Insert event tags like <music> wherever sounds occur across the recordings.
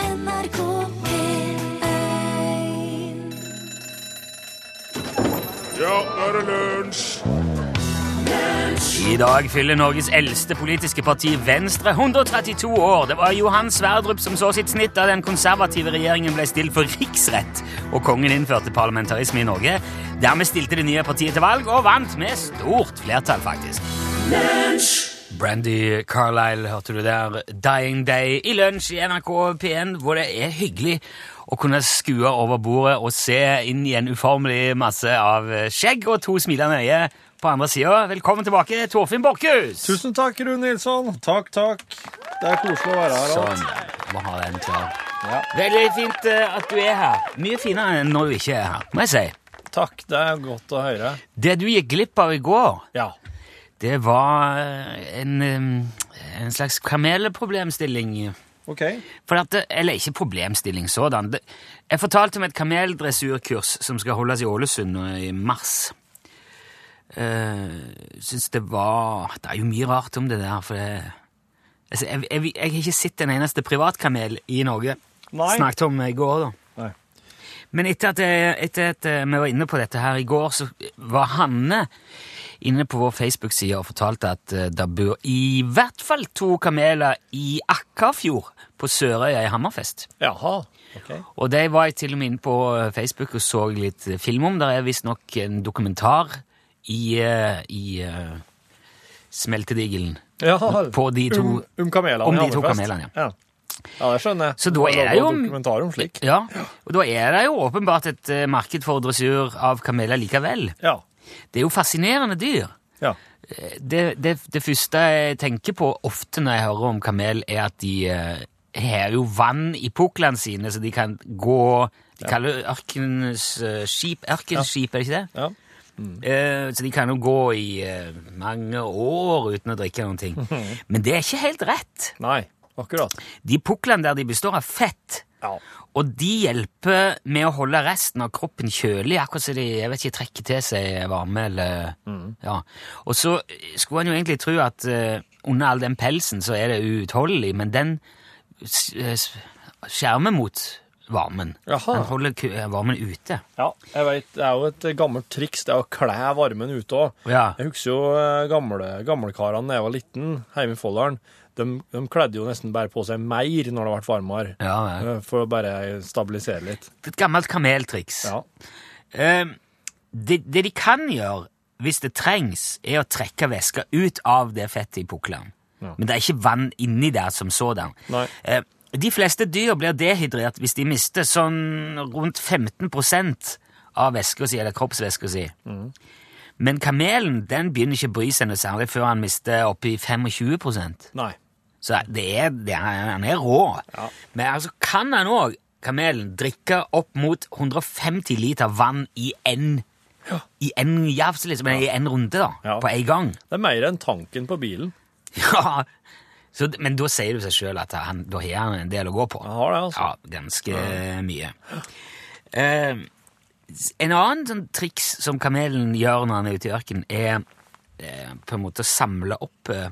NRK P1 Ja, nå er det lunsj! I dag fyller Norges eldste politiske parti Venstre 132 år. Det var Johan Sverdrup som så sitt snitt da den konservative regjeringen ble stilt for riksrett, og kongen innførte parlamentarisme i Norge. Dermed stilte det nye partiet til valg, og vant med stort flertall, faktisk. Brandy Carlisle hørte du der. Dying Day i lunsj i NRK P1, hvor det er hyggelig å kunne skue over bordet og se inn i en uformelig masse av skjegg og to smilende øyne på andre sida. Velkommen tilbake, Torfinn Borchhus! Tusen takk, Rune Nilsson. Takk, takk. Det er koselig å være her. Sånn. Alt. Jeg Må ha den klar. Ja. Veldig fint eh, at du er her. Mye finere enn når du ikke er her, må jeg si. Takk, det er godt å høre. Det du gikk glipp av i går, Ja. det var eh, en, eh, en slags kamelproblemstilling. Ok. For at det, eller ikke problemstilling sådan. Det- Jeg fortalte om et kameldressurkurs som skal holdes i Ålesund nå i mars. Jeg synes det var Det er jo mye rart om det der, for det altså, jeg, jeg, jeg har ikke sett en eneste privatkamel i Norge. Nei. Snakket om det i går, da. Nei. Men etter at, jeg, etter at eh, vi var inne på dette her i går, så var Hanne inne på vår Facebook-side og fortalte at eh, det bor i hvert fall to kameler i Akkarfjord på Sørøya i Hammerfest. Jaha. Ok. Og de var jeg til og med inne på eh, Facebook og så litt eh, film om. Der er visstnok en dokumentar i, eh, i eh, Smeltedigelen Ja, på de to om, om kamelene om i de to Hammerfest. kamelene, ja. Ja, det skjønner jeg. Så da er laget det jo- Dokumentar om slik. Ja, og da er det jo åpenbart et eh, marked for dressur av kameler likevel. Ja. Det er jo fascinerende dyr. Ja. det, det, det første jeg tenker på ofte når jeg hører om kamel, er at de eh, har jo vann i puklene sine, så de kan gå De kaller det ørkens eh, skip, ørkenskip, er det ikke det? Ja. Eh, så de kan jo gå i eh, mange år uten å drikke noen ting. Men det er ikke helt rett. Nei. Akkurat. De puklene der de består av fett. Ja. Og de hjelper med å holde resten av kroppen kjølig, akkurat som de jeg vet ikke, trekker til seg varme. eller... Mm. Ja. Og så skulle en jo egentlig tro at eh, under all den pelsen så er det uutholdelig, men den s- eh, s- skjermer mot varmen. Jaha. Den holder ku- eh, varmen ute. Ja, jeg vet, det er jo et gammelt triks, det er å klæ varmen ute òg. Ja. Jeg husker jo eh, gamle, gamlekarene da jeg var liten, hjemme i Folldalen. De, de kledde jo nesten bare på seg mer når det ble varmere, Ja, ja. eh, for å bare stabilisere litt. Et gammelt kameltriks. Ja. Eh, det, det de kan gjøre, hvis det trengs, er å trekke væska ut av det fettet i puklene. Ja. Men det er ikke vann inni der som sådan. Nei. Eh, de fleste dyr blir dehydrert hvis de mister sånn rundt 15 av væska si, eller kroppsvæska si. Mm. Men kamelen den begynner ikke å bry seg noe særlig før han mister oppi 25 Nei. så det er, det er, han er rå. Ja. Men altså kan han òg, kamelen, drikke opp mot 150 liter vann i én i en jafs, liksom, eller i en runde, da, Ja. på en gang. <laughs> Det er mer enn tanken på bilen. Ja. Så, d- men da sier det seg sjøl at han, da har han en del å gå på. Han har det, altså. Ja, ganske mye. Eh, s- en annen sånn triks som kamelen gjør når han er ute i ørkenen, er eh, på en måte å samle opp eh,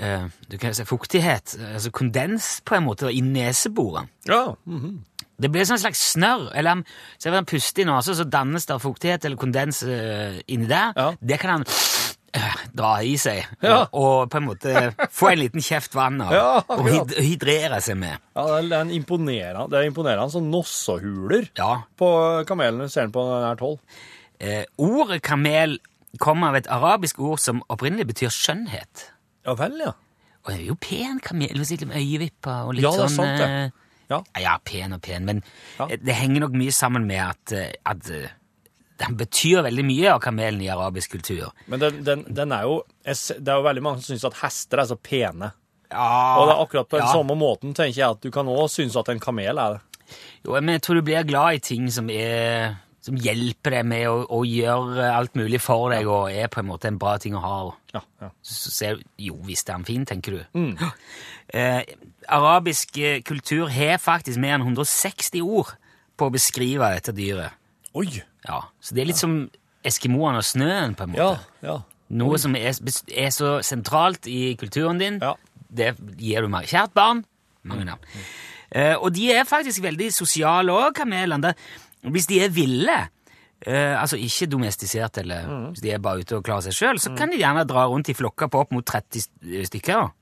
eh, du kan si fuktighet, altså kondens, på en måte, da, i neseborene. Ja. mhm. Det blir sånn slags snørr. eller han- Se når han puster i nesa, så dannes det fuktighet eller kondens eh, inni der. Ja. Det kan han eh, dra i seg Ja. og, og på en måte få en liten kjeft vann av <laughs> Ja, og akkurat. hyd hydrere seg med. ja det, er, det, er en imponerende, det er imponerende sånn nossehuler Ja. på kamelen du ser den på nært hold. Eh, ordet kamel kommer av et arabisk hold som opprinnelig betyr skjønnhet. Ja vel, ja. Og det er jo pen kamel, hvis ikke med øyevipper og litt Ja, det er sånn sant det. eh, Ja. Ja, pen og pen, men Ja. eh, det henger nok mye sammen med at, eh, at eh, den betyr veldig mye av kamelen i arabisk kultur. Men den, den, den er jo jeg se- Det er jo veldig mange som syns at hester er så pene. Ja, Og det er akkurat på den ja. samme måten tenker jeg at du kan òg synes at en kamel er det. Jo, men jeg tror du blir glad i ting som, er, som hjelper deg med å, å gjøre alt mulig for deg, og er på en måte en bra ting å ha. Ja, ja. Så ser du, jo visst er han fin, tenker du. <gasps> Eh, arabisk eh, kultur har faktisk mer enn 160 ord på å beskrive dette dyret. Oi! Ja, så det er litt som eskimoene og snøen, på en måte. Ja, ja. Noe som er, bes- er så sentralt i kulturen din, Ja. det gir du meg. Kjært barn, mange navn. Mm. Eh, og de er faktisk veldig sosiale òg, kamelene. Det- Hvis de er ville, eh, altså ikke domestisert, eller Mm. hvis de er bare ute og klarer seg sjøl, så kan de gjerne dra rundt i flokker på opp mot 30 st- eh, stykker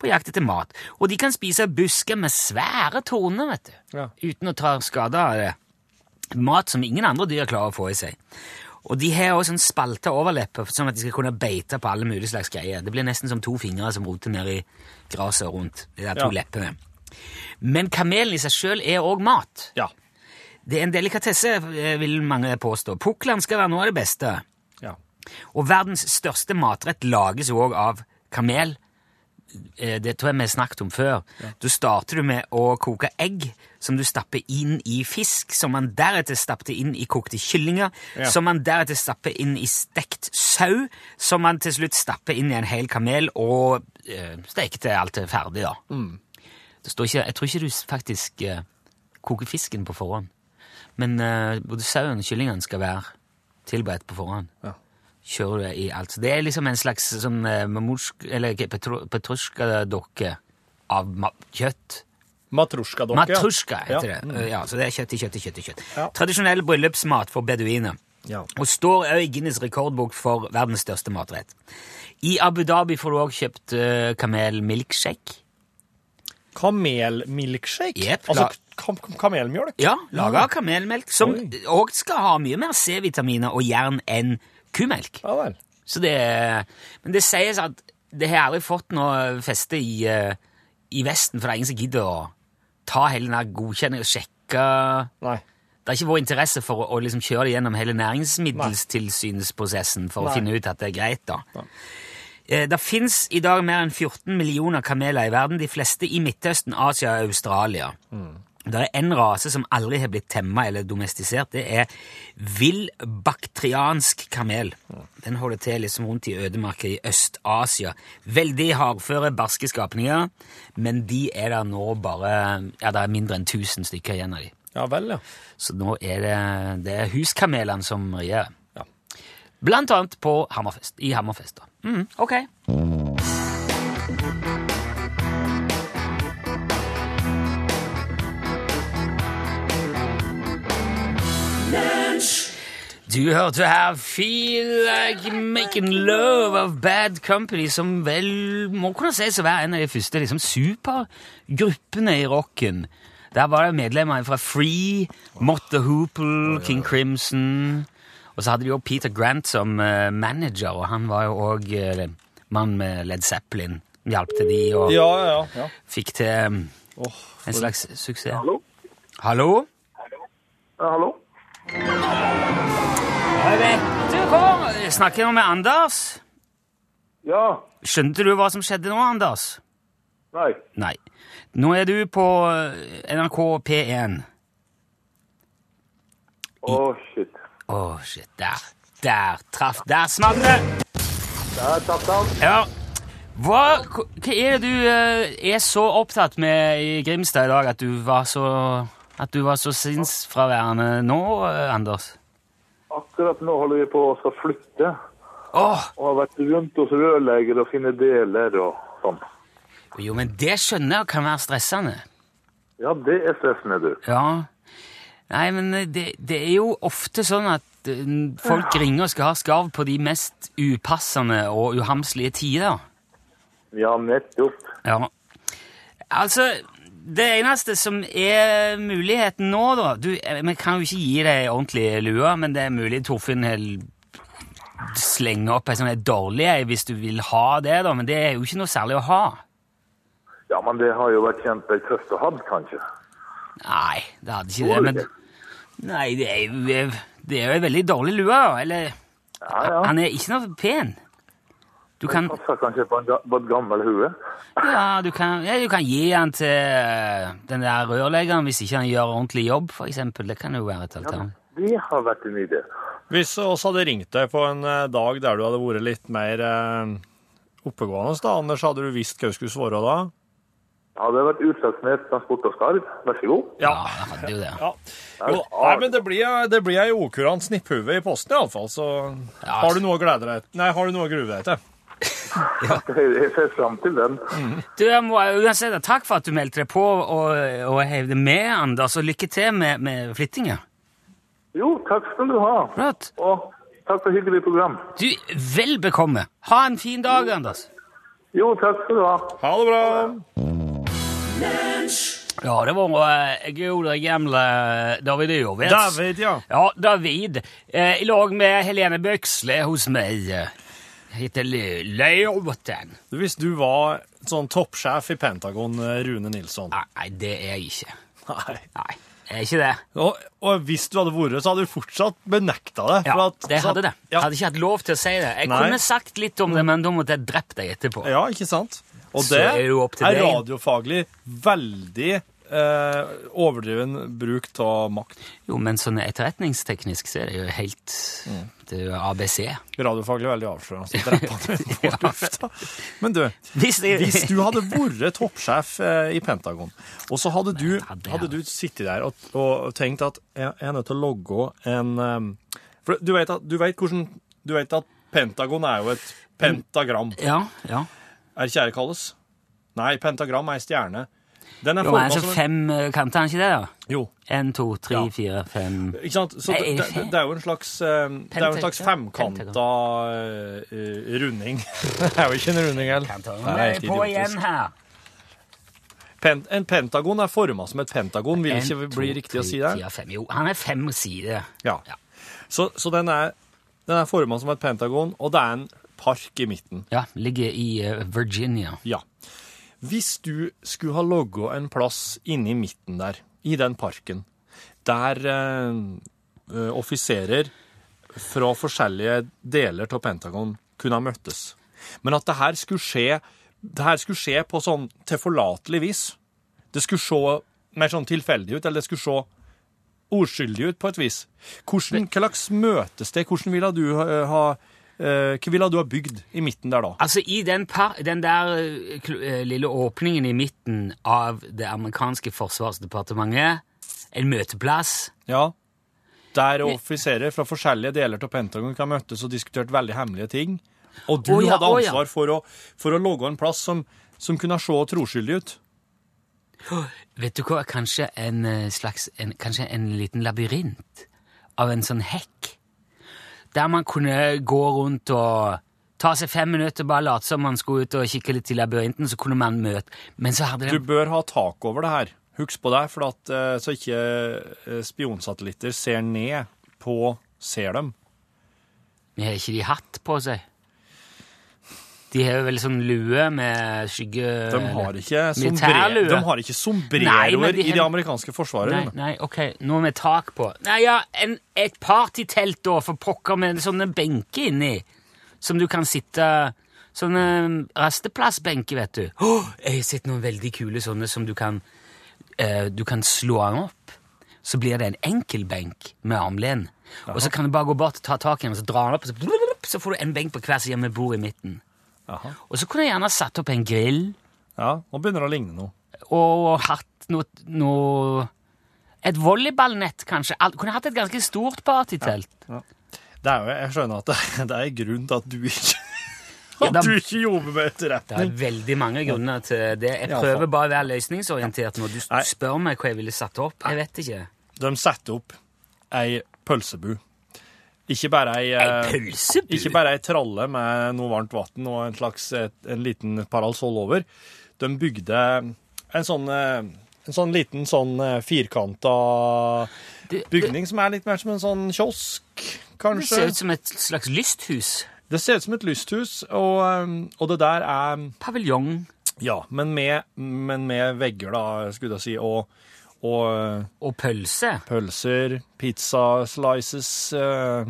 på jakt etter mat. Og de kan spise busker med svære torner, vet du, Ja. uten å ta skade av det. Mat som ingen andre dyr klarer å få i seg. Og de har også sånn spalta overleppe, sånn at de skal kunne beite på alle mulige slags greier. Det blir nesten som to fingre som roter ned i gresset rundt. De der to Ja. leppene. Men kamelen i seg sjøl er òg mat. Ja. Det er en delikatesse, eh, vil mange påstå. Pukkelen skal være noe av det beste. ja. Og verdens største matrett lages jo òg av kamel. Eh, Det tror jeg vi har snakket om før. Da starter du med å koke egg som du stapper inn i fisk, som man deretter stapper inn i kokte kyllinger, Ja. som man deretter stapper inn i stekt sau, som man til slutt stapper inn i en hel kamel og eh, steker til alt er ferdig, da. Det står ikke, jeg tror ikke du s- faktisk eh, koker fisken på forhånd, men eh, både sauen og kyllingene skal være tilberedt på forhånd Ja. kjører du i alt. Så Det er liksom en slags sånn eh, mamorsk- eller ikke, petro- petrusjka-dokke av ma kjøtt. Matrusjka-dokke. Matrusjka ja. Mm. heter det. Ja, så det er kjøtt i kjøtt i kjøtt i kjøtt. Ja. Tradisjonell bryllupsmat for beduiner. Ja. Og står også i Guinness rekordbok for verdens største matrett. I Abu Dhabi får du også kjøpt eh, kamel milkshake. Kamelmilkshake? Jep, la- altså kam kam kamelmjølk? Ja, laga av kamelmelk, som Oi. òg skal ha mye mer C-vitaminer og jern enn kumelk. Ja vel. Så det er- Men det sies at det har aldri fått noe feste i, eh, i Vesten, for det er ingen som gidder å ta hele den der godkjenningen og sjekke Nei. Det er ikke vår interesse for å, å liksom kjøre det gjennom hele næringsmiddelstilsynsprosessen for å Nei. finne ut at det er greit, da. Eh, Det fins i dag mer enn 14 millioner kameler i verden, de fleste i Midtøsten, Asia og Australia. Det er en rase som aldri har blitt temma eller domestisert. Det er vill baktriansk kamel. Den holder til liksom rundt i ødemarker i Øst-Asia. Veldig hardføre, barske skapninger, men de er der nå bare Ja, det er mindre enn 1000 stykker igjen av de. Ja vel, ja. Så nå er det, det er huskamelene som regjerer. Ja. Blant annet på Hammerfest, i Hammerfest. da. Mm, ok. Du hørte her Feel Like Making Love of Bad Company, som vel må kunne sies å være en av de første liksom, supergruppene i rocken. Der var det medlemmer fra Free, Motte Hoople, King Crimson Og så hadde de jo Peter Grant som eh, manager, og han var jo òg mann med Led Zeppelin. Hjalp til de og Ja, ja, ja. fikk til eh, Åh, en slags suksess. Hallo? Hallo? Ja, hallo? Jeg vet du hva? Jeg Snakker nå med Anders? Ja. Skjønte du hva som skjedde nå, Anders? Nei. Nei. Nå er du på eh, NRK P1. Å, shit. Å, shit. Der. Der traff Der smalt det! Der tapte han. Ja. Hva, hva er det du eh, er så opptatt med i Grimstad i dag at du var så at du var så sinnsfraværende nå, eh, Anders? Akkurat nå holder vi på å skal flytte. Åh, Og har vært rundt hos rørlegger og finne deler og sånn. Jo, men det skjønner jeg kan være stressende. Ja, det er stressende, du. Ja. Nei, men eh, det, det er jo ofte sånn at eh, folk ringer og skal ha skarv på de mest upassende og uhamslige tider. Ja, nettopp. Ja. Altså, det eneste som er muligheten nå, da du, eh, Vi kan jo ikke gi deg ordentlig lue, men det er mulig Torfinn hel- slenger opp ei sånn ei dårlig ei hvis du vil ha det, da, men det er jo ikke noe særlig å ha. Ja, men det har jo vært kjempetøft å ha, kanskje. Nei, det hadde ikke det, men Nei, det er jo, det er jo ei veldig dårlig lue, da. Eller Ja, ja. Han er ikke noe pen. Du kan, Passer kanskje på, en, ga- på et gammel hue. ja, du kan, ja, du kan gi han til eh, den der rørleggeren hvis ikke han gjør ordentlig jobb, for eksempel. Det kan jo være et alternativ. Det har vært en idé. Hvis oss hadde ringt deg på en eh, dag der du hadde vært litt mer eh, oppegående, da, Anders, hadde du visst hva du skulle svare da? Ja, det har vært utslagsnes transport og skarv. Vær så god. <laughs> Ja, jeg hadde jo det. Ja. Jo, nei, men det blir, det blir ei okurant snipphue i posten, iallfall. Så Ja. har du noe å glede deg Nei, har du noe å grue deg til? Jeg jeg ser fram til den. Du, jeg må uansett takk for at du meldte deg på og, og hevde med, Anders, og lykke til med, med flyttinga. Jo, takk skal du ha. Flott. Og takk for hyggelig program. Du, vel bekomme. Ha en fin dag, Anders. Jo, takk skal du ha. Ha det bra! Ja, det var eh, goda gamla eh, David Ovets. David, ja. Ja, David. Eh, I lag med Helene Böxle hos mig. eh, Heter lö- låten. Hvis du var sånn toppsjef i Pentagon, eh, Rune Nilsson Nej, det är jag inte. Nei. Nej, det är inte det. Og, og hvis du hadde vært, så hadde du fortsatt benekta det. for Ja, at- det så at- hade det. Ja. Jag hade inte haft lov till att säga det. Jag Nej. kunde sagt lite om det, men då måste jag dräpa dig efterpå. ja, ikke sant? Og Så det er det er, jo opp til deg. radiofaglig veldig eh, overdriven bruk av makt. Jo, men sånn etterretningsteknisk så er det jo helt... Mm. Det er jo ABC. Radiofaglig veldig avslørende. så <laughs> dreper han den på lufta. Men du, Hvis det- hvis du hadde vært toppsjef eh, i Pentagon, og så hadde du, hadde jeg- hadde du sittet der og, og tenkt at jeg, jeg er nødt til å logge en eh, For du vet, at, du, vet hvordan, du vet at Pentagon er jo et pentagram. Ja, ja. Er ikke det det kalles? Nei, pentagram er ei stjerne. Den er Jo, men formet så som en fem eh, kanter, ikke det da? Jo, En, to, tre, altså- Ja. fire, fem... ikke sant? Så Nei, det, er det det, fem? det er jo en slags, eh, det er jo en slags Pentagon. femkanta eh, eh, runding. <laughs> det er jo ikke en runding, Kan eller? ta Det er meg helt på idiotisk. igjen her. Pen, en pentagon er forma som et pentagon, vil En, ikke to, bli riktig å tre, si det? fire, fem. Jo, han er fem sider. Ja. Så, så den er, den er forma som et pentagon, og det er en park i midten. Ja, ligger i eh, Virginia. Ja. Hvis du skulle ha logget en plass inne i midten der, i den parken, der eh, eh, offiserer fra forskjellige deler av Pentagon kunne ha møttes, men at det her skulle skje, det her skulle skje på sånn tilforlatelig vis, det skulle se mer sånn tilfeldig ut, eller det skulle se ordskyldig ut på et vis. Hvordan, hva slags møtested, hvordan ville du ha, ha eh, hva ville du ha bygd i midten der da? Altså, i den, par, den der eh, kl- eh, lille åpningen i midten av det amerikanske forsvarsdepartementet, en møteplass Ja. Der offiserer fra forskjellige deler av Pentagon kan møtes og diskutert veldig hemmelige ting. Og du Å ja, hadde å ja. ansvar for, å, for å logge en plass som, som kunne se troskyldig ut. Vet du hva? Kanskje en eh, slags en, Kanskje en liten labyrint av en sånn hekk. Der man kunne gå rundt og ta seg fem minutter, bare late som man skulle ut og kikke litt i labyrinten, så kunne man møte Men så hadde Du den bør ha tak over det her. Husk på det, for at, eh, så ikke eh, spionsatellitter ser ned på ser dem. Men Har ikke de hatt på seg? De har jo vel sånn lue med skygge De har ikke, sombre, Eh, Militærlue. de har ikke Nei, men sombreroer de i det har- amerikanske forsvaret. Nei, nei, ok, noe med tak på. Nei, ja, en, et partytelt da, for pokker med sånne benker inni, som du kan sitte... Sånne mm, rasteplassbenker, vet du. Åh, jeg har sett noen veldig kule sånne som du kan... eh, du kan slå den opp, så blir det en enkel benk med armlen. Og så kan du bare gå bort og ta tak i den, og så dra den opp, og så, så får du en benk på hver side med bord i midten. Jaha. Og så kunne jeg gjerne satt opp en grill, Ja, nå begynner det å ligne noe. og hatt noe, noe Et volleyballnett, kanskje. Alt- Kunne hatt et ganske stort partytelt. Det er jo, jeg skjønner at <laughs> det, det er grunn til at du ikke, Ja, at da- du ikke jobber med Det er etterretning. veldig mange grunner til det. Jeg Ja, prøver faen. bare å være løsningsorientert når du s- Nei. spør meg hva jeg ville satt opp. Jeg vet ikke. De setter opp ei pølsebu. Ikke bare ei, Ei eh, pølsebu? Ikke bare ei tralle med noe varmt vann og en slags eh, en liten parasoll over. De bygde en sånn eh, en sånn liten sånn eh, firkanta Det, det, bygning som er litt mer som en sånn kiosk, det kanskje. ser ut som et slags lysthus. Det ser ut som et lysthus, og, eh, og det der er Paviljong Ja, men med, men med vegger, da, skulle jeg si, og, og eh, og pølse. pølser, pizza slices, eh,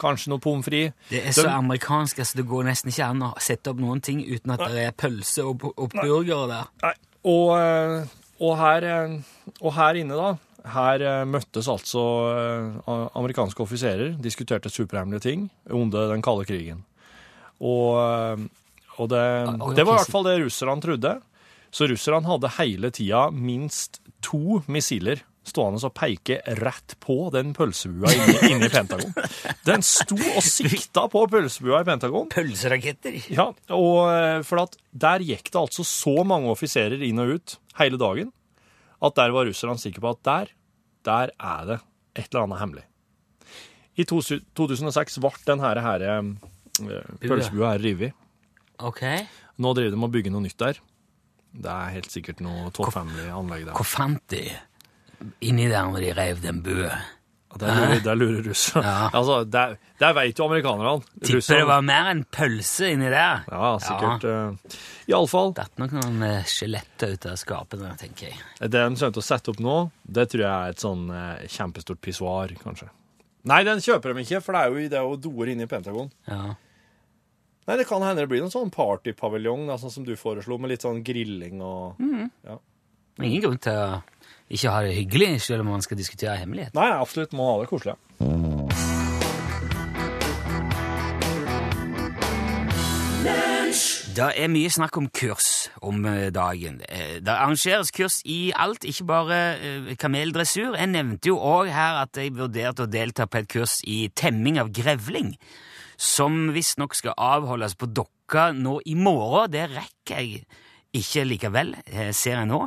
kanskje noe pommes frites. Det er så De- amerikansk at det går nesten ikke an å sette opp noen ting uten at det er pølse og, og burgere der. Nei, og, eh, og, her, eh, og her inne, da her eh, møttes altså eh, amerikanske offiserer, diskuterte superhemmelige ting under den kalde krigen. Og, eh, og det, og- det var i hvert fall det russerne trodde. Så russerne hadde hele tida minst to missiler stående og peke rett på den pølsebua inne, inne i <laughs> Pentagon. Den sto og sikta på pølsebua i Pentagon. Pølseraketter. Ja, og eh, for at der gikk det altså så mange offiserer inn og ut hele dagen, at der var russerne sikre på at der, der er det et eller annet hemmelig. I to- 2006 ble denne her, her, eh, pølsebua her rivet. Ok. Nå driver de med å bygge noe nytt der. Det er helt sikkert noe topp family-anlegg der. Hva fant de inni der når de reiv den bøen? Der lurer, der lurer russerne. Ja. Altså, der, der vet jo amerikanerne. Tipper det var mer enn pølse inni der. Ja, sikkert. eh, I alle fall, Datt nok noen eh, skjeletter ut av skapene, tenker jeg. det de kommer til å sette opp nå, det tror jeg er et sånn eh, kjempestort pissoar, kanskje. Nei, den kjøper de ikke, for det er jo, det er jo doer inne i Pentagon. Ja. Nei, det kan hende det blir noen sånn partypaviljong, da, sånn som du foreslo, med litt sånn grilling og Ingen grunn til å ikke ha det hyggelig, selv om man skal diskutere hemmelighet. Nei, absolutt. Må ha det koselig. ja. Det er mye snakk om kurs om eh, dagen. Eh, Det arrangeres kurs i alt, ikke bare eh, kameldressur. Jeg nevnte jo òg her at jeg vurderte å delta på et kurs i temming av grevling, som visstnok skal avholdes på Dokka nå i morgen. Det rekker jeg ikke likevel, eh, ser jeg nå.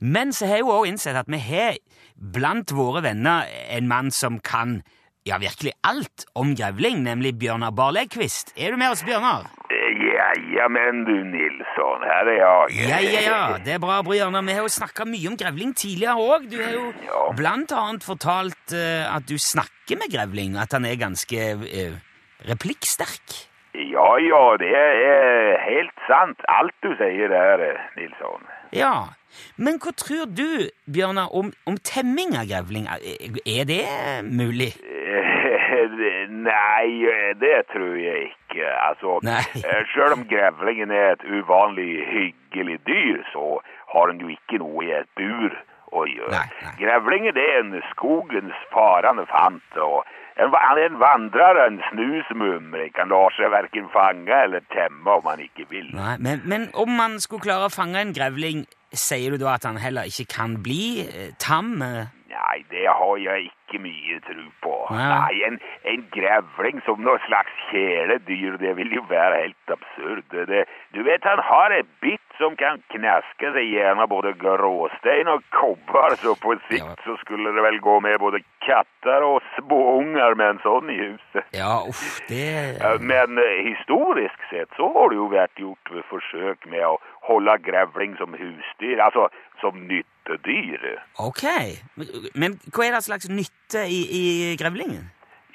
Men så har jeg jo òg innsett at vi har blant våre venner en mann som kan ja, virkelig alt om grevling, nemlig Bjørnar Barlegkvist. Er du med oss, Bjørnar? Jajamän du Nilsson, här är jag. Ja, ja, ja. Det er bra, Brianna. Vi har jo snakka mye om grevling tidligere òg. Du har jo blant annet fortalt eh, at du snakker med grevling, at han er ganske eh, replikksterk. Ja, ja, det är helt sant allt du säger där Nilsson. <laughs> Ja. Men hva tror du, Bjørnar, om, om temming av grevling? Er er det mulig? Eh, Nej, det tror jag inte. Alltså, Nej. själv eh, om grävlingen är ett ovanligt hyggligt dyr så har den ju inte något i ett bur att göra. Nej, nej. Grävlingen det är en skogens farande fant och en, va- han är en vandrare, en snusmumling, kan la sig varken fanga eller tämma om man inte vill. Nei, men, men om man skulle klare å fange en grevling, sier du da at han heller ikke kan bli eh, tam? eh? Nei, det har jeg ikke mye tro på. Ja. Nei, en, en grevling som noe slags kjæledyr, det vil jo være helt absurd. Det- Det, du vet, han har et bitt som kan knaske seg gjennom både gråstein og kobber, så på sikt så skulle det vel gå med både katter og småunger med en sånn i huset. Ja, uff, det Eh, Men eh, historisk sett så har det jo vært gjort forsøk med å holde grevling som husdyr, altså som nyttedyr. Ok. Men- Men hva er det slags nytte i, i grevlingen?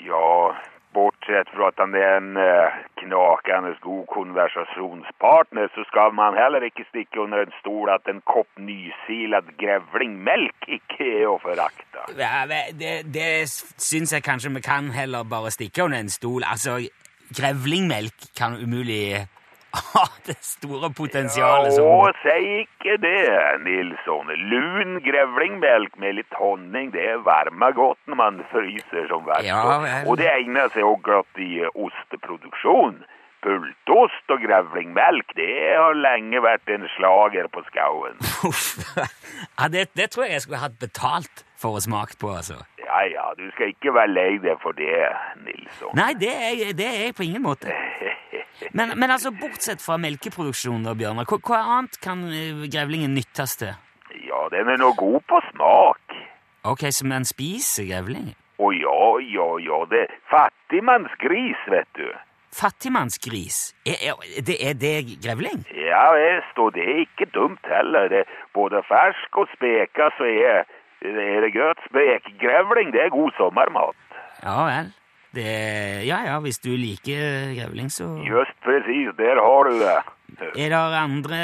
Ja, bortsett fra at han er en eh, knakende god konversasjonspartner, så skal man heller ikke stikke under en stol at en kopp nysilet grevlingmelk ikke er å forakte. Ja, men det, det syns jeg kanskje vi kan heller bare stikke under en stol. Altså, grevlingmelk kan umulig <laughs> ha det store potensialet som Å, si ikke det, Nilsson. Lun grevlingmelk med litt honning, det varmer godt når man fryser som verst. Ja, vel. Og det egner seg også godt i eh, osteproduksjon. Pultost og grevlingmelk, det har lenge vært en slager på skauen. Uff. <laughs> Ja, det, det tror jeg jeg skulle hatt betalt for å smake på, altså. Ja, ja, du skal ikke være lei deg for det, Nilsson. Nei, det er, jeg- det er jeg på ingen måte. Men, men altså, bortsett fra melkeproduksjon, da, Bjørnar, hva, hva annet kan eh, grevlingen nyttes til? Ja, den er nå god på smak. Ok, så man spiser grevling? Å ja, ja, ja, det er fattigmannsgris, vet du. Fattigmannsgris? Er, er, det, er det grevling? Ja, visst, og det er ikke dumt heller. Det, både fersk og speka, så er, er det godt. Spekgrevling, det er god sommermat. Ja vel. Det, ja ja, hvis du liker grevling, så Just precis, der har du det. Er det andre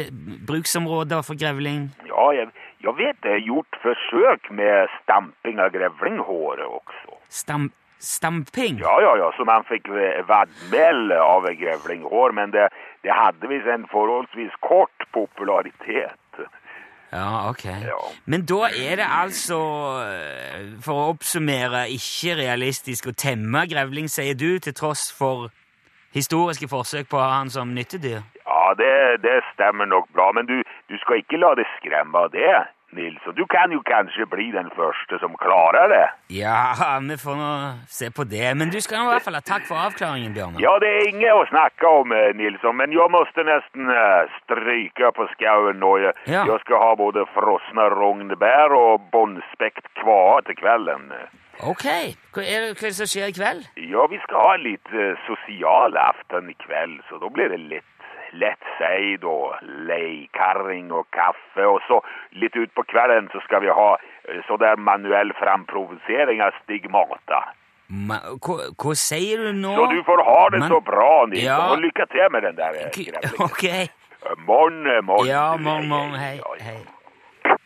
eh, bruksområder for grevling? Ja, jeg, jeg vet det er gjort forsøk med stamping av grevlinghåret også. Stam, stamping? Ja, ja, ja, så man fikk eh, vadmel av grevlinghår, men det, det hadde visst en forholdsvis kort popularitet. Ja, ok. Ja. Men da er det altså, eh, for å oppsummere, ikke realistisk å temme grevling, sier du, til tross for historiske forsøk på å ha han som nyttedyr? Ja, det, det stemmer nok bra, men du, du skal ikke la deg skremme av det, Nils, og du kan jo kanskje bli den første som klarer det. Ja, vi får nå se på det. Men du skal i hvert fall ha takk for avklaringen, Bjørnar. Ja, det er inget å snakke om, eh, Nilsson, men jeg måste nesten eh, stryke på skauen nå. Jeg- Ja. Jeg skal ha både frosne rognbær og båndspekt kvae til kvelden. Ok. Hva er det, hva er det som skjer i kveld? Ja, vi skal ha litt eh, sosial aften i kveld, så da blir det litt lett seid og leikarring og kaffe. Og så litt ut på kvelden så skal vi ha eh, sånn der manuell framprovosering av stigmata. Ma, hva, hva sier du nå? Så du får ha det Men- så bra, Nils, Ja. og lykke til med den der eh, K- grevlingen. Ok. Eh, Morn, eh, morn. Ja, morgen, morgen. Hei. Ja, ja. hei.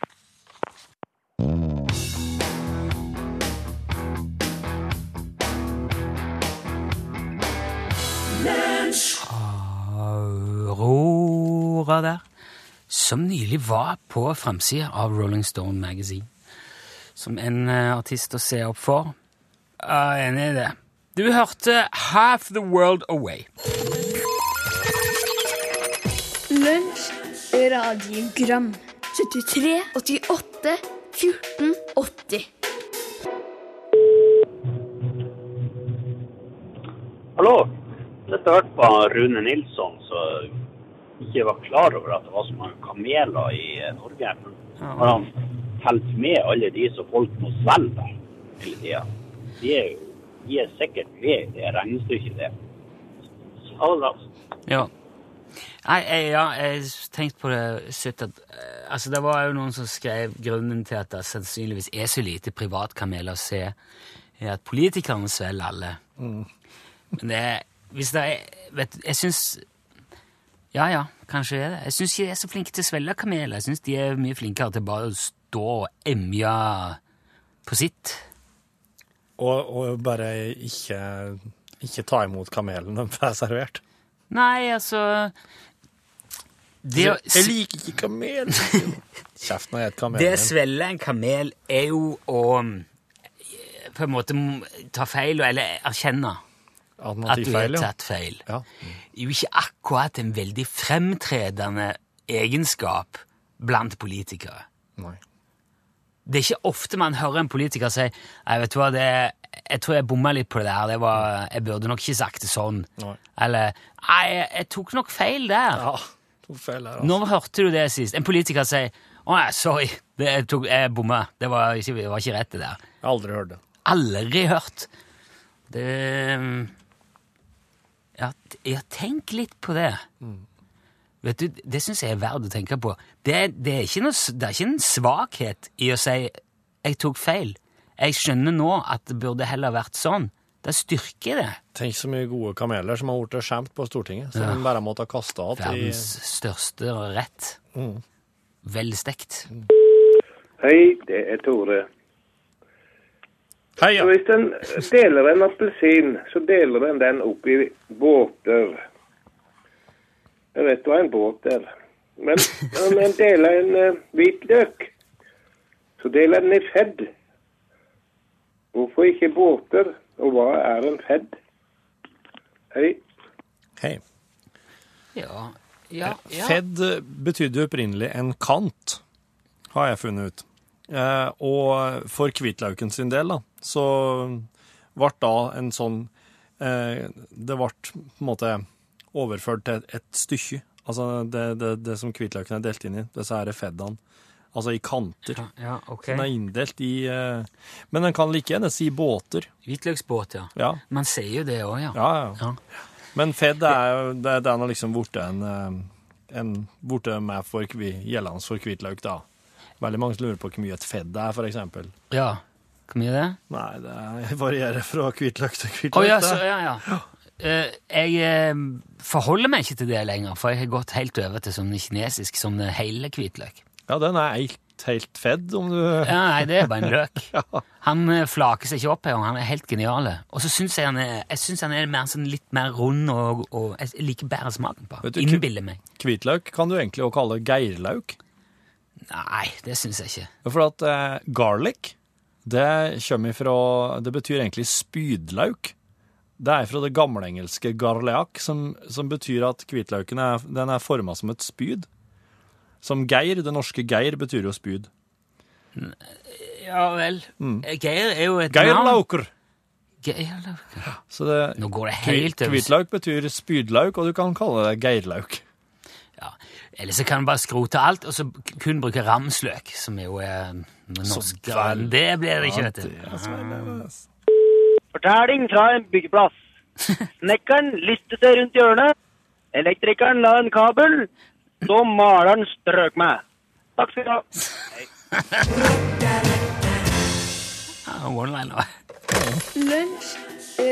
Aurora der, som nylig var på fremsida av Rolling Stone Magazine. Som en eh, artist å se opp for. Ja, jeg er enig i det. Du hørte Half the World Away. Lunsj, radiogram 73, 88, 14, 80 Hallo. Dette har jeg hørt på Rune Nilsson, som ikke var klar over at det var så mange kameler i eh, Norge. Har han telt med alle de som folk må svelge hele tida? De er jo de er sikkert med i det regnestykket der. Ha det bra. Ja. Nei, jeg, ja, jeg tenkte på det sitt at eh, Altså, det var jo noen som skrev grunnen til at det sannsynligvis er så lite privatkameler å se, er at politikerne svelger alle. Men det er Hvis det er Vet du, jeg syns Ja ja, kanskje det er det. Jeg syns ikke de er så flinke til å svelge kameler. Jeg syns de er mye flinkere til bare å stå og emje på sitt. Og, og bare ikke, ikke ta imot kamelen de får servert. Nei, altså det, å- Jeg liker ikke kamel! <laughs> Kjeft når jeg et kamel. Det å svelle en kamel er jo å eh, på en måte m- ta feil, eller erkjenne At man at tar du har feil, ja. tatt feil. Ja. Det er jo ikke akkurat en veldig fremtredende egenskap blant politikere. Nei. Det er ikke ofte man hører en politiker si «Nei, vet du hva, det, jeg tror jeg bomma litt på det der, det var, jeg burde nok ikke sagt det sånn. Nei. Eller Nei, jeg, jeg tok nok feil der. Ja, to feil her, altså. Når hørte du det sist? En politiker sier Å nei, sorry, det, jeg, tok, jeg bomma. Det var ikke, det var ikke rett, det der. Jeg har aldri hørt det. Aldri hørt. Det eh, Ja, t- ja tenk litt på det. Vet du, Det syns jeg er verdt å tenke på. Det, det, er ikke noe, s- det er ikke en svakhet i å si 'jeg tok feil'. Jeg skjønner nå at det burde heller vært sånn. Det styrker det. Tenk så mye gode kameler som har blitt skjemt på Stortinget, som de bare måtte ha kasta av. i- Verdens største rett. Velstekt. Hei, det er Tore. Hei, ja. Så hvis en deler en appelsin, så deler en den opp i båter. Jeg vet hva en båt er. Men om en deler en eh, hvitløk, så deler en i fedd. Hvorfor ikke båter? Og hva er en fedd? Hei. Hei. Ja, ja, ja. Fed eh, betydde jo opprinnelig en kant, har jeg funnet ut. Eh, og for hvitlauken sin del, da, så ble da en sånn eh, Det ble på en måte overført til et, et stykke. Altså det, det, det som hvitlauken er delt inn i, disse her feddene. Altså i kanter. Ja, ok. Den er inndelt i eh, Men den kan like gjerne si båter. Hvitløksbåt, ja. Ja, Man sier jo det òg, ja. ja, ja. Men fedd er jo Det, det er nå liksom blitt en, eh, en Blitt med for kvi, gjeldende for hvitløk, da. Veldig mange som lurer på hvor mye et fedd er, for eksempel. Ja. Hvor mye er det? Nei, det er- <laughs> varierer fra hvitløk til hvitløk. Å ja, det. så, ja, ja. Eh, jeg eh, forholder meg ikke til det lenger, for jeg har gått helt over til sånn kinesisk sånn eh, hele hvitløk. ja, den er helt, helt fedd, om du Ja, nei, det er bare en løk. Han eh, flaker seg ikke opp her, og han er helt genial. Og så syns jeg han er, jeg synes han er mer, sånn, litt mer rund, og, og jeg liker bedre smaken på Vet han. du, ku- Innbiller meg. Hvitløk kan du egentlig også kalle geirlauk. Nei, det syns jeg ikke. For at eh, garlic, det kommer ifra Det betyr egentlig spydlauk. Det er fra det gamlengelske garleak, som, som betyr at hvitlauken er, den er forma som et spyd. Som geir, det norske geir, betyr jo spyd. Ja vel. Eh, Geir er jo et navn. Geirlauker. Geir Lauker. Så det- Nå går det Kvi- helt over. Hvitlauk betyr spydlauk, og du kan kalle det geirlauk. Ja. Eller så kan du bare skrote alt, og så k- kun bruke ramsløk, som jo er norsk. vel- Det blir det ikke, vet du. Fortelling fra en byggeplass. Snekkeren listet seg rundt hjørnet. Elektrikeren la en kabel. Så maleren strøk meg. Takk skal du ha. Ja, One-liner. Lunsj,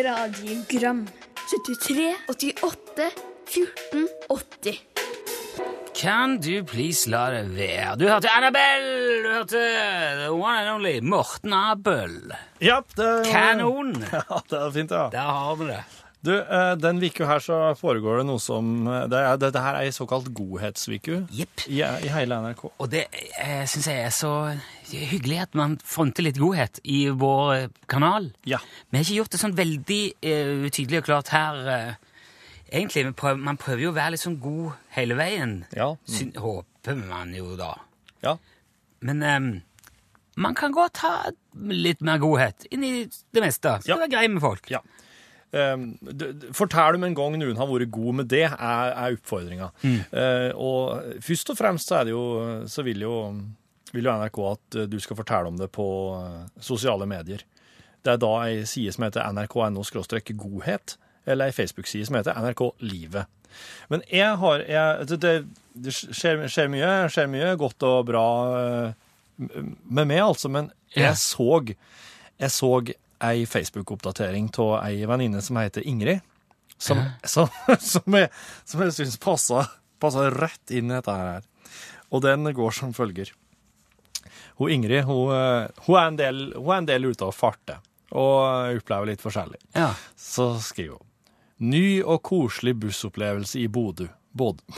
radiogram 73 88 14 80 Kan du please la det være? Du hørte Annabelle! Du hørte the one and only Morten Abel. Ja, det Kanon! <laughs> Ja, det er fint, ja. Der har vi det. Du, eh, den uka her så foregår det noe som eh, Det er, dette her er ei såkalt godhetsviku Jepp. i, i hele NRK. Og det eh, syns jeg er så hyggelig at man fronter litt godhet i vår eh, kanal. Ja. Vi har ikke gjort det sånn veldig eh, tydelig og klart her. Eh, egentlig, vi prøver, Man prøver jo å være litt sånn god hele veien. Ja. Syn, håper man jo, da. Ja. Men eh, man kan godt ha litt mer godhet inn i det meste. Skal Ja. være grei med folk. Ja. Um, d- d- fortell om en gang noen har vært god med det, er, er oppfordringa. Eh, og først og fremst så, er det jo, så vil, jo, vil jo NRK at eh, du skal fortelle om det på eh, sosiale medier. Det er da ei side som heter nrk.no godhet, eller ei Facebook-side som heter NRK Livet. Men jeg har jeg, altså det- Det, det skjer, skjer, mye, skjer mye godt og bra eh, m- med meg, altså, men Ja. jeg så jeg så ei Facebook-oppdatering av ei venninne som heter Ingrid, som, <laughs> som, som jeg, som jeg syns passa, passa rett inn i dette her. Og den går som følger. Hun Ingrid hun, eh, hun, er, en del, hun er en del ute og farter, og opplever litt forskjellig. Ja. Så skriver hun Ny og koselig bussopplevelse i Bodø. Bodø. <laughs>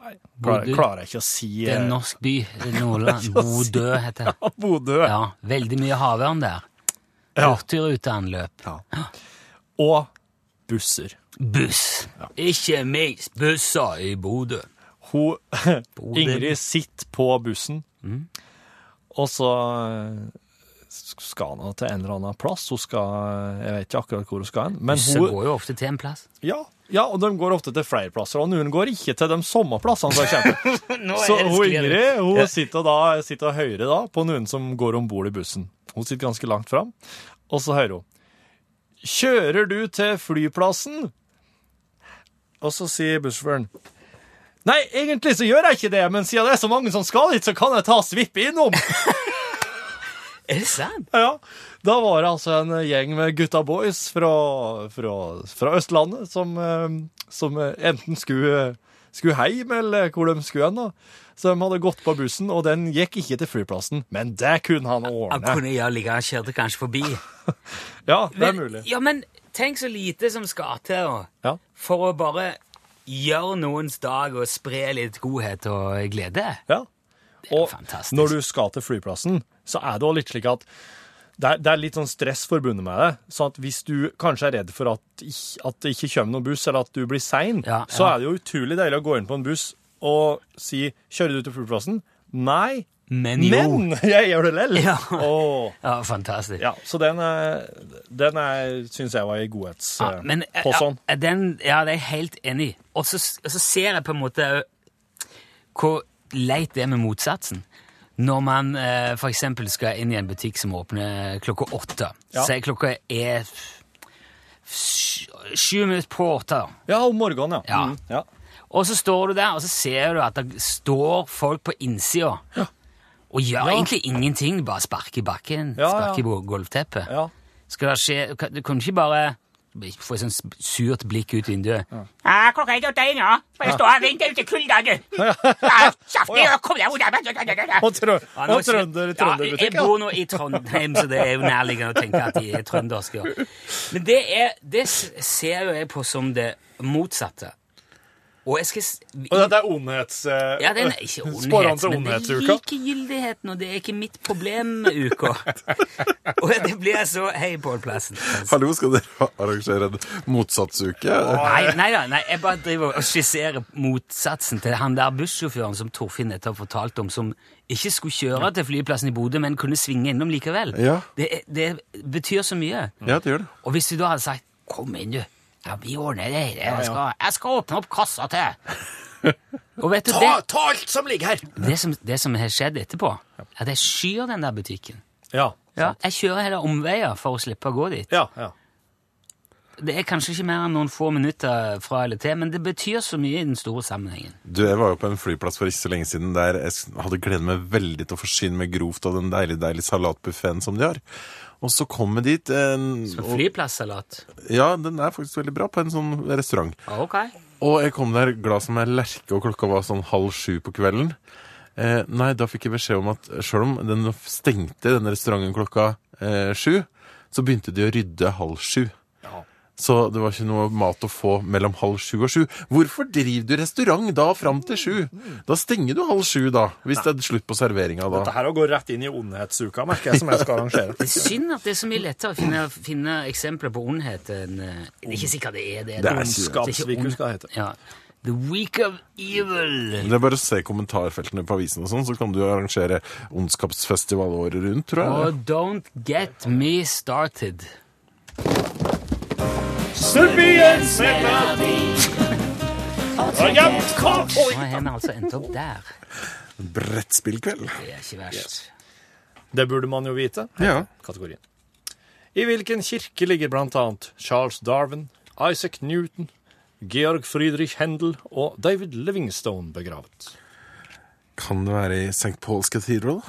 Nei, klarer, Bodø. klarer jeg ikke å si Det er en <laughs> eh, norsk by. <laughs> Nordland. Bodø heter det. Bodø. Ja, veldig mye havørn der. Ja. Hurtigruteanløp. Og busser. Buss. Ikke minst busser i Bodø. Hun, <laughs> Bodø. Mm. Ingrid sitter på bussen, og så eh, skal hun til en eller annen plass. Hun skal, eh, jeg vet ikke akkurat hvor hun skal hen. Men Busser hun, går jo ofte til en plass. ja, ja, og de går ofte til flere plasser, og noen går ikke til de samme plassene. som jeg kjenner. Så hun Ingrid hun sitter, da, sitter og hører da på noen som går om bord i bussen. Hun sitter ganske langt fram, og så hører hun Kjører du til flyplassen? Og så sier bussjåføren Nei, egentlig så gjør jeg ikke det, men siden det er så mange som skal dit, så kan jeg ta svippe innom. Er det sant? Ja, da var det altså en gjeng med gutta boys fra, fra, fra Østlandet som, eh, som eh, enten skulle, skulle heim eller hvor de skulle hen da. Så de hadde gått på bussen, og den gikk ikke til flyplassen, men det kunne han Han ordne. kunne ja, ligge han kjørte kanskje forbi. Ja, det er mulig. Ja, men tenk så lite som skal til å- Ja. for å bare gjøre noens dag og spre litt godhet og glede. Ja. Og fantastisk. når du skal til flyplassen, så er det også litt slik at det er, det er litt sånn stress forbundet med det. Så at hvis du kanskje er redd for at, ikk- at det ikke kommer noen buss, eller at du blir sein, Ja, så ja. er det jo utrolig deilig å gå inn på en buss og si 'Kjører du til flyplassen?' Nei. Men jo. Men <laughs> jeg gjør det lell! Ja. Åh. Ja, fantastisk. ja, så den, er- den er- syns jeg var i godhets... Ja, eh, Ah, men, på sånn. Ja, den, ja, det er jeg helt enig i. Og så og så ser jeg på en måte hvor leit det er med motsatsen. Når man eh, for eksempel skal inn i en butikk som åpner klokka åtte. Ja. Så er klokka er sj- sju minutter på åtte. Ja, om morgenen, ja. Ja. Mm, ja. Og så står du der, og så ser du at det står folk på innsida. Og gjør egentlig ingenting, bare sparker i bakken, Ja, ja. sparker i gulvteppet. ja. Skal det skje kan- Du kan ikke bare få et sånt surt blikk ut vinduet. Ja, klokka er ikke åtte ennå. Bare stå og vente ute i kulda, du. Ja, Kjapt ned og kom deg unna. Og, trø Ja, nå- og trønder, Ja, trønderbutikk, jeg bor nå i Trondheim, så det er jo nærliggende å tenke at de er trønderske. Men det, er, det s- ser jo jeg på som det motsatte Og jeg skal... s- Og dette er ondhets... eh, Ja, den <laughs> er ikke Spår han ondhet, til men det er ondhetsuka? likegyldigheten, og det er ikke mitt problem med <laughs> uka. og det blir jeg så Hei, Pål Plassen. Hallo, skal dere arrangere en motsatsuke? Nei, nei da, nei, jeg bare driver og skisserer motsatsen til han der bussjåføren som Torfinn nettopp fortalte om, som ikke skulle kjøre til flyplassen i Bodø, men kunne svinge innom likevel. Ja. Det, er- det betyr så mye. Ja, det gjør det. Og hvis du da hadde sagt 'Kom inn, du. Ja, vi ordner det her. Jeg skal, jeg skal åpne opp kassa til deg.' <laughs> Og vet du, det, ta alt som ligger her! det, som, det som har skjedd etterpå, er at jeg skyr den der butikken. Ja. Ja, jeg kjører heller omveier for å slippe å gå dit. Ja, ja. Det er kanskje ikke mer enn noen få minutter fra eller til, men det betyr så mye i den store sammenhengen. Du, Jeg var jo på en flyplass for ikke så lenge siden der jeg s- hadde gledet meg veldig til å forsyne meg grovt av den deilige deilige salatbuffeen som de har. Og så kom jeg dit en, og, Flyplassalat. Ja, den er faktisk veldig bra på en sånn restaurant. Ok. Og jeg kom der glad som ei lerke, og klokka var sånn halv sju på kvelden. Eh, nei, da fikk jeg beskjed om at sjøl om den stengte den restauranten klokka eh, sju, så begynte de å rydde halv sju. Så det var ikke noe mat å få mellom halv sju og sju. Hvorfor driver du restaurant da fram til sju? Da stenger du halv sju, da. Hvis det er slutt på serveringa da. Dette her går rett inn i ondhetsuka, merker jeg, som jeg skal arrangere. <laughs> Det er synd at det er så mye lettere å finne, finne eksempler på ondhet enn eh, Det er ikke sikkert det er Det det. er ikke ond- Ondskapsvikus, skal det hete. Ja. The week of evil. Det er bare å se kommentarfeltene på avisen og sånn, så kan du arrangere ondskapsfestival året rundt, tror jeg. Og don't get me started. Nå har vi altså endt opp der. Brettspillkveld. Det er ikke verst. Det burde man jo vite. Ja. Kategorien. I hvilken kirke ligger blant annet Charles Darwin, Isaac Newton, Georg Friedrich Händel og David Livingstone begravet? Kan det være i St. Paul's Cathedral?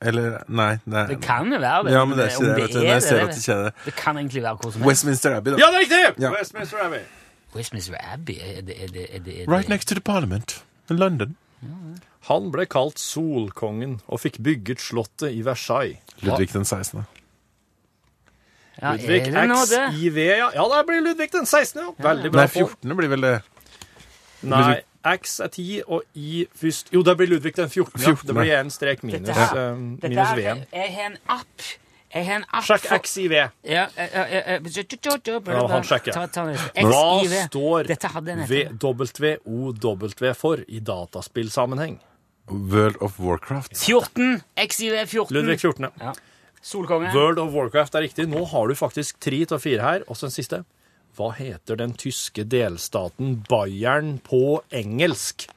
Eller Nei. nei. Det kan jo være det. Ja, men det er om ikke det. vet du. Nei, jeg ser at det ikke er det. det kan egentlig være hvor som helst. Westminster Abbey, da. Ja, det er riktig! Ja. Westminster Abbey. Westminster Abbey, er det, er det, er det, er det Right next to the Parliament in London. Han ble kalt Solkongen og fikk bygget slottet i Versailles. Ludvig den 16. Ja, Ludvig er det nå det? XIV, ja. Ja, det blir Ludvig den 16., ja. Veldig bra. Nei, folk. 14. blir vel det. Nei, X er 10, og I først Jo, det blir Ludvig den 14. Ja. 14, Det blir ja. en strek minus, Dette her- eh, Det minus der, V-en. jeg har en app. Jeg har en app Sjekk X i V. Ja, eh, eh, eh, Ja, han sjekker. Ta, ta, Hva XIV. står Dette hadde jeg nettopp. WOW for i dataspillsammenheng? World of Warcraft. 14. XIV 14. Ludvig 14. Solkonge. World of Warcraft er riktig. Nå har du faktisk tre av fire her. Og så den siste. Hva heter den tyske delstaten Bayern på engelsk?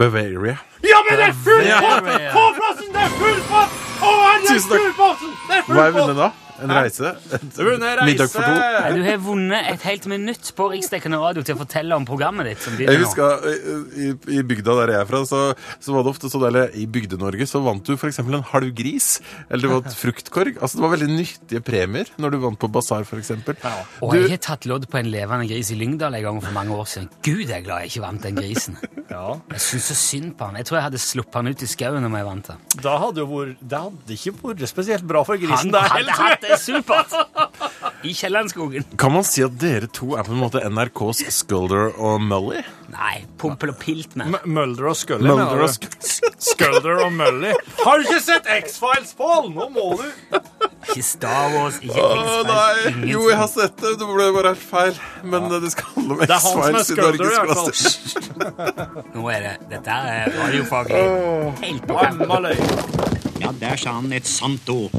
Bavaria. Ja, men det er full pott! Få plassen! Det er full pott! Å, det Tusen takk. full Det er Hva er vunnet, da? En <laughs> reise? Et Middag for to? Nei, Du har vunnet et helt minutt på Riksdekkende radio til å fortelle om programmet ditt. som Jeg begynner nå. husker eh, i, i bygda der jeg er fra, så, så var det ofte så deilig I Bygde-Norge så vant du f.eks. en halv gris, eller det var <laughs> et fruktkorg. Altså Det var veldig nyttige premier når du vant på basar, f.eks. Og jeg har tatt lodd på en levende gris i Lyngdal en gang for mange år siden. Gud, jeg er glad jeg ikke vant den grisen. Ja, Jeg syns så synd på han. Jeg tror jeg hadde sluppet han ut i skauen om jeg vant den. da hadde jo vært Det hadde ikke vært spesielt bra for grisen Han der hadde heller. hatt det <laughs> supert! I Kiellandskogen. Kan man si at dere to er på en måte NRKs Skulder og Mully? Nei, Pompel og Pilt, men. M- Mulder og Scully. Mulder mener og du? Skulder og Mully. Har du ikke sett X-Files, Pål? Nå må du Ikke Star Wars, ikke Å, X-Files, nei! ingenting. Jo, jeg har sett det. Det ble bare helt feil. Men eh, det skal handle om Det er han som er X-Files i Skulder, i hvert Norgesklasse. fall. Nå er det, dette er radiofaglig. Helt på kanten. Emma løy. Ja, der sa han et sant ord.